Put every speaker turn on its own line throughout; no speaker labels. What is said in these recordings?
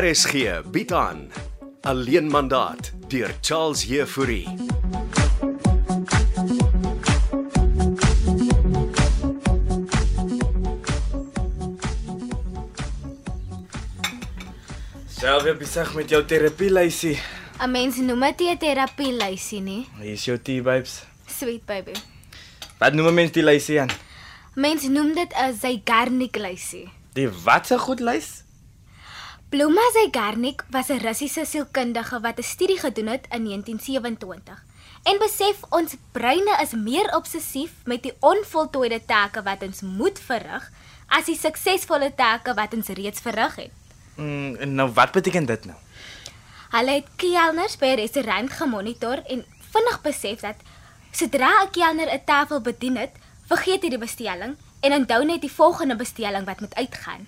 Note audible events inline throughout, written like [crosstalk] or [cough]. RSG bied aan Alleen mandaat deur Charles Heffouri.
Self jy besig met jou terapielysie.
'n Mens noem dit nie 'n terapie lysie nie,
Hier is jou T-vibes.
nee. sweet baby.
Wat noem 'n mens die lysie aan?
Mens noem dit 'n Zygarnik lysie.
Die watse goed lys?
Bloma Zygarnik was 'n Russiese sielkundige wat 'n studie gedoen het in 1927. En besef ons breine is meer obsessief met die onvoltooide take wat ons moet verrig as die suksesvolle take wat ons reeds verrig het.
Mm, en nou wat beteken dit nou?
Hulle het kelners by 'n restaurant gemonitor en vinnig besef dat sodra 'n kelner 'n tafel bedien het, vergeet hy die bestelling en onthou net die volgende bestelling wat moet uitgaan.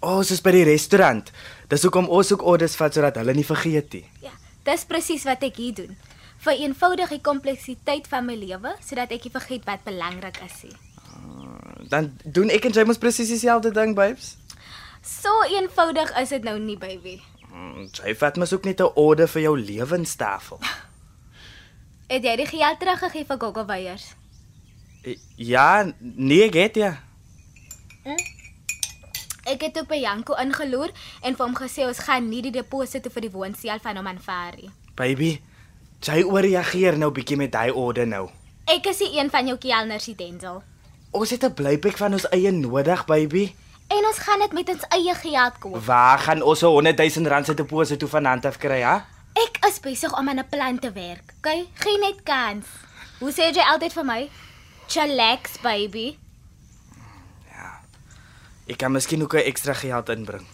Ons is by die restaurant. Dis hoekom ons ook orders vat sodat hulle nie vergeet nie.
Ja, dis presies wat ek hier doen. Vereenvoudig die kompleksiteit van my lewe sodat ek nie vergeet wat belangrik is nie.
Mm, Dan doen ek en jy mos presies dieselfde ding, babes.
So eenvoudig is dit nou nie, baby.
Mm, jy vat mos ook net 'n order vir jou lewenstafel.
Het jy die geld teruggegee vir Gogo Weyers?
I- Ja, nee, ek het ja.
Ek het ook by Janko ingeloer en vir hom gesê ons gaan nie die deposito vir die woonstel van hom aanvaar nie.
Baby, jy ooreageer nou bietjie met daai order nou.
Ek is nie een van jou kelners se Denzel.
Ons het 'n blyplek van ons eie nodig, baby.
En ons gaan dit met ons eie geld koop.
Waar gaan ons 'n 100 000 rand se deposito van hand af kry, ha?
Ek is besig om aan 'n plan te werk. Okay, gee net kans. Hoe sê jy altyd vir my? Chillax baby.
Ek kan miskien ook 'n ekstra geld inbring.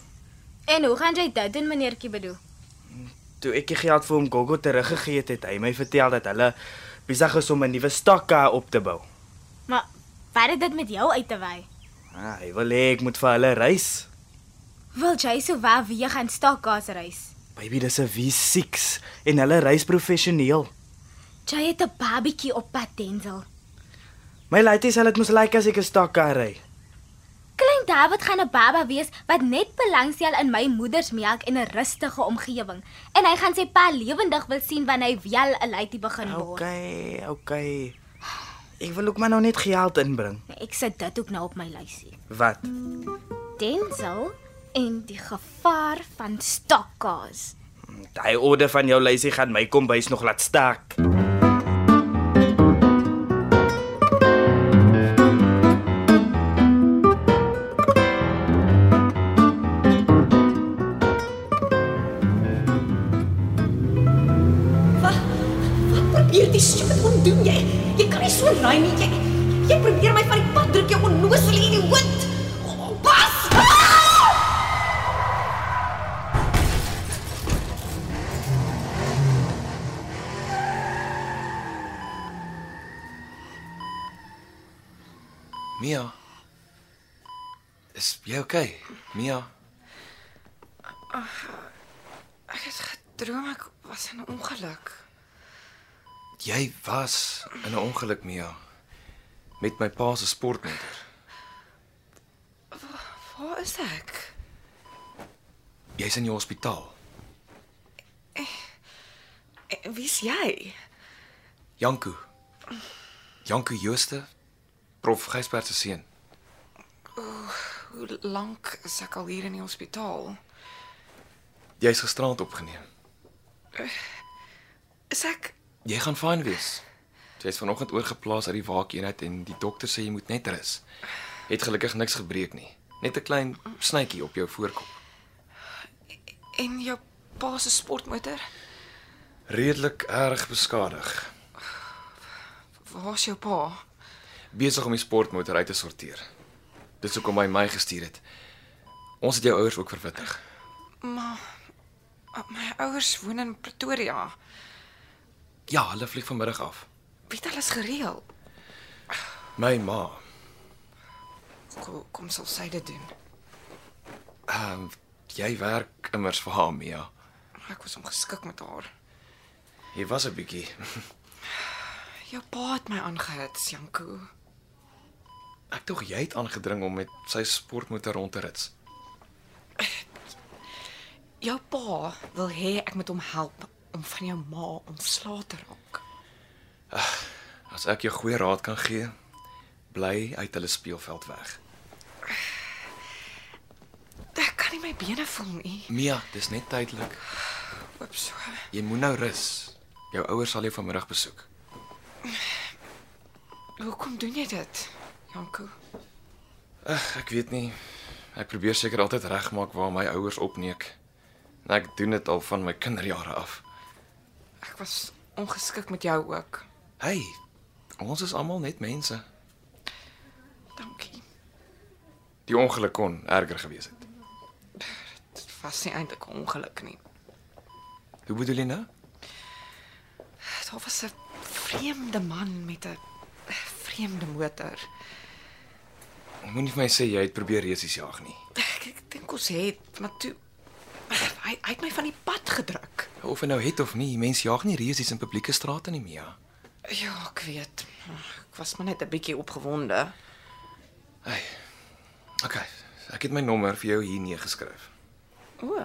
En hoe gaan jy dit doen meneertjie bedoel?
Toe ek die geld vir hom Gogo teruggegee het, het hy my vertel dat hulle besig is om 'n nuwe stokka op te bou.
Maar wat het dit met jou uit te wy?
Ah, hy wil hê ek moet vir hulle reis.
Wil jy so waar weer gaan stakkas reis?
Baby, dis 'n V6 en hulle reis professioneel.
Jy het 'n babietjie op pad Denzel.
My laities sal dit mos lyk like as ek 'n stokka ry.
Klein David gaan 'n baba wees wat net belangstel in my moeder se melk en 'n rustige omgewing. En hy gaan sy pa lewendig wil sien wanneer hy wel 'n laity begin word.
Okay, okay. Ek wil ook maar nou net geld inbring.
Nee, Ek sit dit ook nou op my lysie.
Wat?
Denzel en die gevaar van stokkas.
Daai orde van jou lysie gaan my kombuis nog laat staak.
Wat wat probeer die stupid oom doen jy? Jy kan nie so raai nie. Jy jy probeer my van die pad druk jou onnoosel in die wind. Oh, pas! Ah!
Mia. Is jy okay? Mia,
Ek het gedroom ek was in 'n ongeluk.
jy was in 'n ongeluk, Mia. Met my pa se sportmotor.
Waar is ek?
Jy's in die hospitaal.
En wie's jy?
Janko. Janko Jooste, prof Gysbert se seun.
Hoe lank is ek al hier in die hospitaal?
Jy's gisterand opgeneem.
Is ek
Jy gaan fyn wees. Jy's vanoggend oorgeplaas uit die waakeenheid en die dokter sê jy moet net rus. Jy Het gelukkig niks gebreek nie. Net 'n klein snytjie op jou voorkop.
en jou pa se sportmotor?
Redelik erg beskadig.
Waar's jou pa?
besig om die sportmotor uit te sorteer. Dis hoekom hy my gestuur het. Ons het jou ouers ook verwittig.
Maar my ouers woon in Pretoria.
Ja, hulle vlieg vanmiddag af.
Weet alles gereël.
My ma,
Kom, kom sal sy dit doen.
ehm jy werk immers vir haar, Mia.
Ek was ongeskik met haar.
Jy was 'n bietjie.
Jou pa het my aangehits, Janko.
Ek tog jy het aangedring om met sy sportmotor rond te rits.
Jou pa wil hê ek moet hom help om van jou ma ontslae te raak.
As ek jou goeie raad kan gee, bly uit hulle speelveld weg.
Ek kan nie my bene voel nie.
Mia, dis net tydelik.
Oop so.
Jy moet nou rus. Jou ouers sal jou vanmiddag besoek.
Hoekom doen jy dit? Janko.
Ag, ek weet nie. Ek probeer seker altyd regmaak waar my ouers opneek. En ek doen dit al van my kinderjare af.
Ek was ongeskik met jou ook.
Hey, ons is almal net mense.
Dankie.
Die ongeluk kon erger gewees het.
Dit was nie eintlik 'n ongeluk nie.
Hoe bedoel jy nou?
Daar was 'n vreemde man met 'n vreemde motor.
Moenie vir my sê jy het probeer resies jaag nie.
Ek, ek dink ons het, maar toe hy hy het my van die pad gedruk.
Of hy nou het of nie, mense jaag nie resies in publieke strate nie, Mia.
Ja, ek weet. maar Ek was maar net 'n bietjie opgewonde.
Okay, ek het my nommer vir jou hier neergeskryf.
O.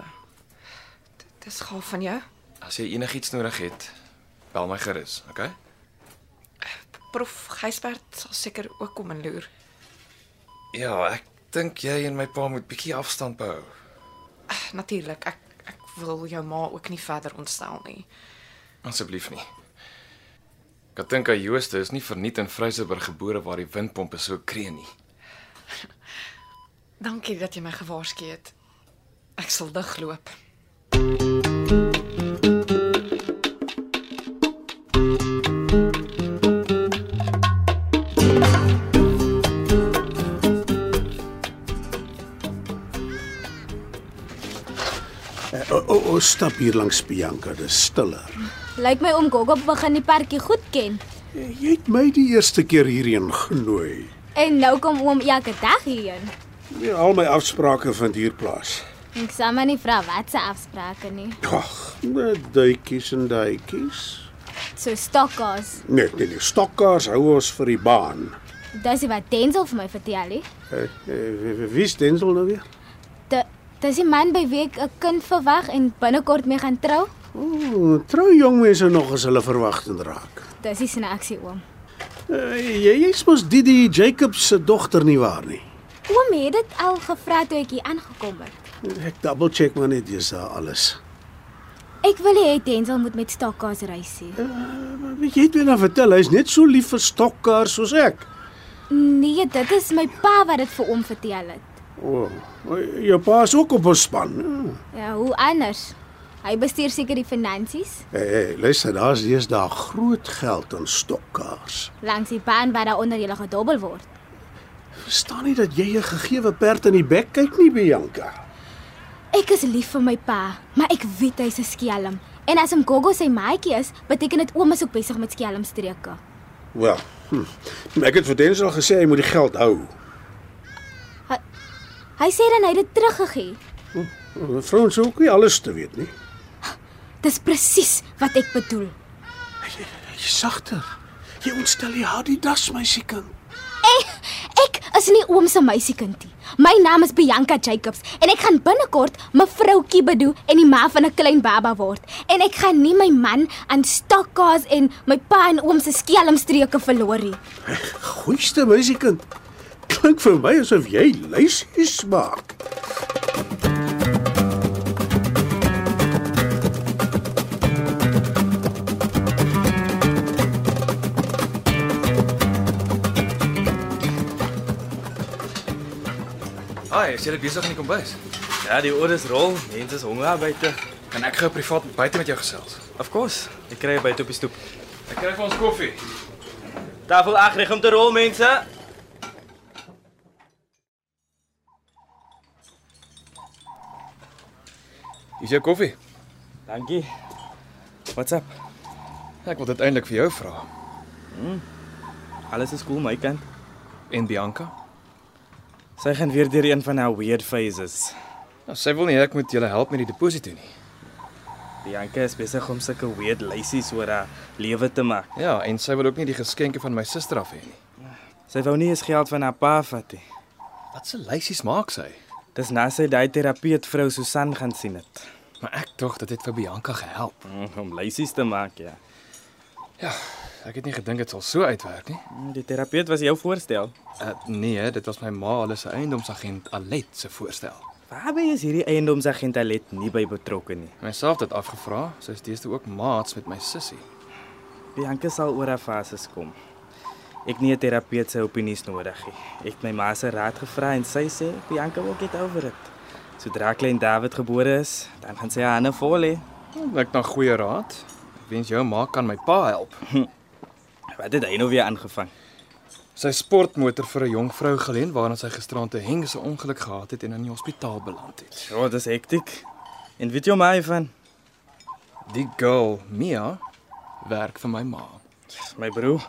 dit- Dis gaaf van jou.
As jy enigiets nodig het, bel my gerus, okay?
Prof Gysbert sal seker ook kom en loer.
Ja, ek dink jy en my pa moet bietjie afstand behou.
Natuurlik, ek ek wil jou ma ook nie verder ontstel nie.
Asseblief nie. Katinka Jooste is nie verniet in Vryseburg gebore waar die windpompe so kreun nie.
Dankie dat jy my gewaarsku het. Ek sal digloop.
O- o- Ons stap hier langs Bianca, dis stiller.
Lyk my oom Gogo begin die parkie goed ken.
Jy het my die eerste keer hierheen genooi.
En nou kom oom elke dag hierheen.
Ja, al my afsprake vind hier plaas.
Ek sal maar nie vra wat se afsprake nie.
Ag, net duitjies en duitjies.
So stokkas.
Net in die nee, stokkaars hou ons vir die baan.
Dis wat Denzel vir my vertel het.
Eh, eh, Wie is Denzel nou weer?
Da- Dis die man by wie ek 'n kind verwag en binnekort mee gaan trou.
O, trou jong mense nog as hulle verwagtend raak.
Dis die snaaksie oom.
Eh, Jy jy's mos Didi Jacobs se dogter nie waar nie?
Oom het dit al gevra toe ek hier aangekom het.
Ek double check maar net dis daar alles.
Ek wil nie hê Denzel moet met stokkas reis nie.
Maar Jy het my nou vertel hy's net so lief vir stokkaars soos ek.
Nee, dit is my pa wat dit vir oom vertel het.
O, oh, jou pa is ook op ons span.
Ja, hoe anders? Hy bestuur seker die finansies
Hey, hey, luister, daar's deesdae groot geld in stokkaars.
langs die baan waar daaronder jy gedobbel word.
Verstaan nie dat jy 'n gegewe perd in die bek kyk nie, Bianca.
Ek is lief vir my pa, maar ek weet hy's 'n skelm. En as hom Gogo sy maatjie is, beteken dit ouma is ook besig met skelmstreke.
Wel, hm. ek het vir Denzel gesê hy moet die geld hou.
Hy sê dan hy het dit teruggegee.
Vrouens hoef ook nie alles te weet nie.
Dis presies wat ek bedoel.
Jy sagter. Jy ontstel jy haar die das, meisiekind.
Ek is nie oom se meisiekindie. My naam is Bianca Jacobs en ek gaan binnekort mevroutjie bedoel en die ma van 'n klein baba word. En ek gaan nie my man aan stokkas en my pa en oom se skelmstreke verloor nie.
Goeiste meisiekind. Klink vir my asof jy lysies maak.
Ai, is jy net besig in die kombuis?
Ja, die orders rol. Mense is honger daar buite.
Kan ek gou privaat buite met jou gesels?
Of course. Ek kry by toe op die stoep.
Ek kry vir ons koffie.
Tafel ag reg om te rol mense.
Is jou koffie?
Dankie. What's up?
Ek wil dit eintlik vir jou vra.
Alles is cool my kant.
En Bianca?
Sy gaan weer deur een van haar weird phases.
Nou, sy wil nie ek moet julle help met die deposito nie.
Bianca is besig om sulke weird lysies oor haar lewe te maak.
Ja, en sy wil ook nie die geskenke van my suster af hê nie.
Sy wou nie eens geld van haar pa vat nie.
Wat se lysies maak sy?
Dis na sy daai terapeut vrou Susan gaan sien het.
Maar ek dink dit het vir Bianca gehelp.
Mm, Om lysies te maak, ja.
Ja,
Ek het nie gedink dit sal so uitwerk nie.
Mm, Die terapeut was jou voorstel.
Uh,
Eh,
nee, dit was my ma, hulle se eiendomsagent Alet se voorstel.
Waarby is hierdie eiendomsagent Alet nie by betrokke nie?
Myself dit afgevra, sy is deesdae ook maats met my sussie.
Bianca sal oor haar fases kom. Ek nie 'n terapeut se opinies nodig nie. Ek het my ma se raad gevra en sy sê Bianca wil get over dit. Sodra klein David gebore is, dan gaan sy haar hande vol hê.
Hm, Ek na goeie raad. Ek wens jou ma kan my pa help.
Wat het hy nou weer aangevang?
Sy sportmotor vir 'n jong vrou geleen waarna sy gisteraan te heng se ongeluk gehad het en in die hospitaal beland het.
Ja, dis hektiek. En weet jy my van
Die girl, Mia, werk vir my ma.
my broer?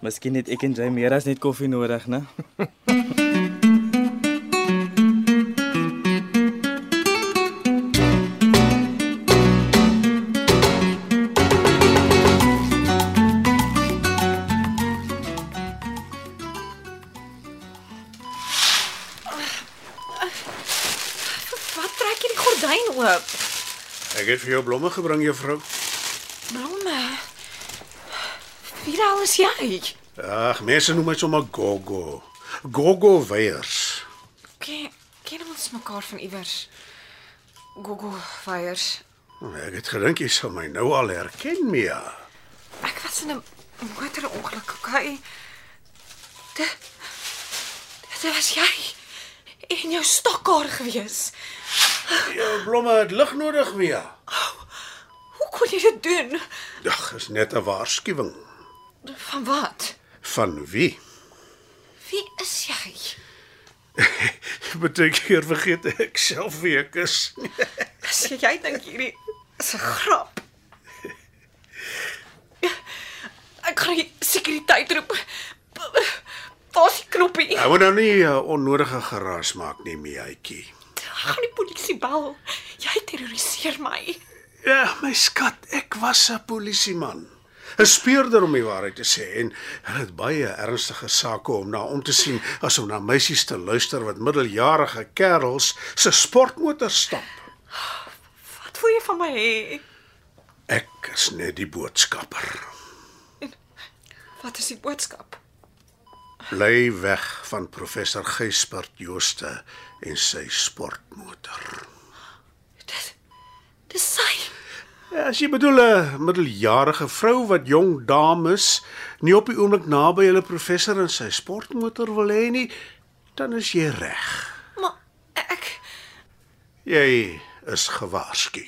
Miskien het ek en jy meer as net koffie nodig, né?
Wat trek jy die gordyn oop?
Ek het vir jou blomme gebring, juffrou.
Blomme. Wie daal is jy?
Ag, mense noem my sommer Gogo. Gogo Weyers.
Ken, ken ons mekaar van iewers? Gogo Fires.
Ek het gedink jy sal my nou al herken, Mia.
Ek was in 'n motorongeluk, okay? Dit Dit was jy. En jou stokkaar gewees.
Jou blomme het lig nodig, Mia.
Hoe kon jy dit doen?
Dag, is net 'n waarskuwing.
Van wat?
Van wie? [laughs]
Wie is jy?
Baie keer vergeet ek self wie ek is.
As jy, jy dink hierdie is 'n grap. Ek gaan die sekuriteit roep. Daar's die knoppie.
Ek moet nou nie eh, onnodige geraas maak nie, Miaatjie.
Ek gaan die polisie bel. Jy terroriseer my.
Ja, my skat, ek was 'n polisieman. 'n Speurder om die waarheid te sê en hulle het baie ernstige sake om na om te sien as om na meisies te luister wat middeljarige kerels se sportmotor stap.
Wat wil jy van my hê?
Ek is net die boodskapper.
Wat is die boodskap?
Bly weg van professor Gysbert Jooste en sy sportmotor.
Dis dis sy.
Ja, as jy bedoel 'n middeljarige vrou wat jong dames nie op die oomblik naby hulle professor en sy sportmotor wil hê nie, dan is jy reg.
Maar ek
Jy is gewaarsku.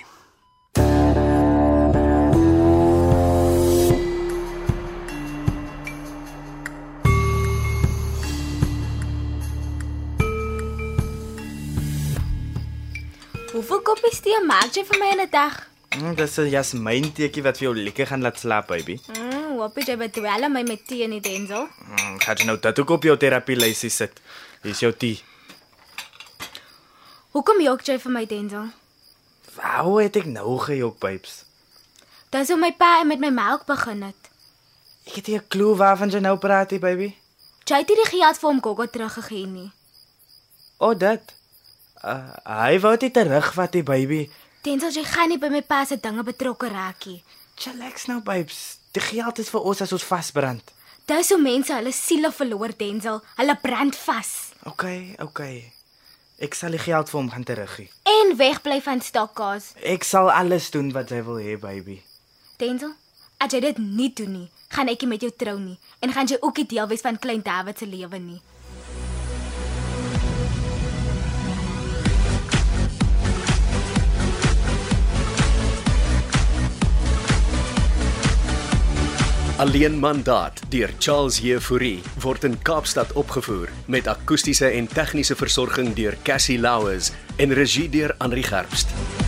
Hoeveel koppies tee maak jy vir my in 'n dag?
[laughs] Mm, dis 'n jasmiin teekie wat vir jou lekker gaan laat slaap, baby.
Mm, hoop jy bedwel my met tee in die denzel.
Mm, gaan jy nou dit ook op jou terapie lysie sit? Dis jou tee.
Hoekom jok jy vir my denzel?
Wou het ek nou gejok, babes.
Dis hoe my pa met my melk begin het.
Ek het nie 'n klou waarvan jy nou praat, nie, baby.
Jy het hierdie geld vir hom Gogo teruggegee nie.
O, oh, dit. Uh, hy wou dit terugvat, die baby.
Denzel, jy gaan nie by my pa se dinge betrokke raak nie.
Chillax nou, babes. Die geld is vir ons as ons vasbrand.
Dis hoe mense hulle siele verloor, Denzel. Hulle brand vas
OK, OK. Ek sal die geld vir hom gaan teruggee.
en wegbly van stakkaas.
Ek sal alles doen wat hy wil hê, baby.
Denzel, as jy dit nie doen nie, gaan ek nie met jou trou nie en gaan jy ook nie deel wees van klein David se lewe nie.
Alleen mandaat deur Charles Heffouri word in Kaapstad opgevoer met akoestiese en tegniese versorging deur Cassie Louws en regie deur Henri Gerst.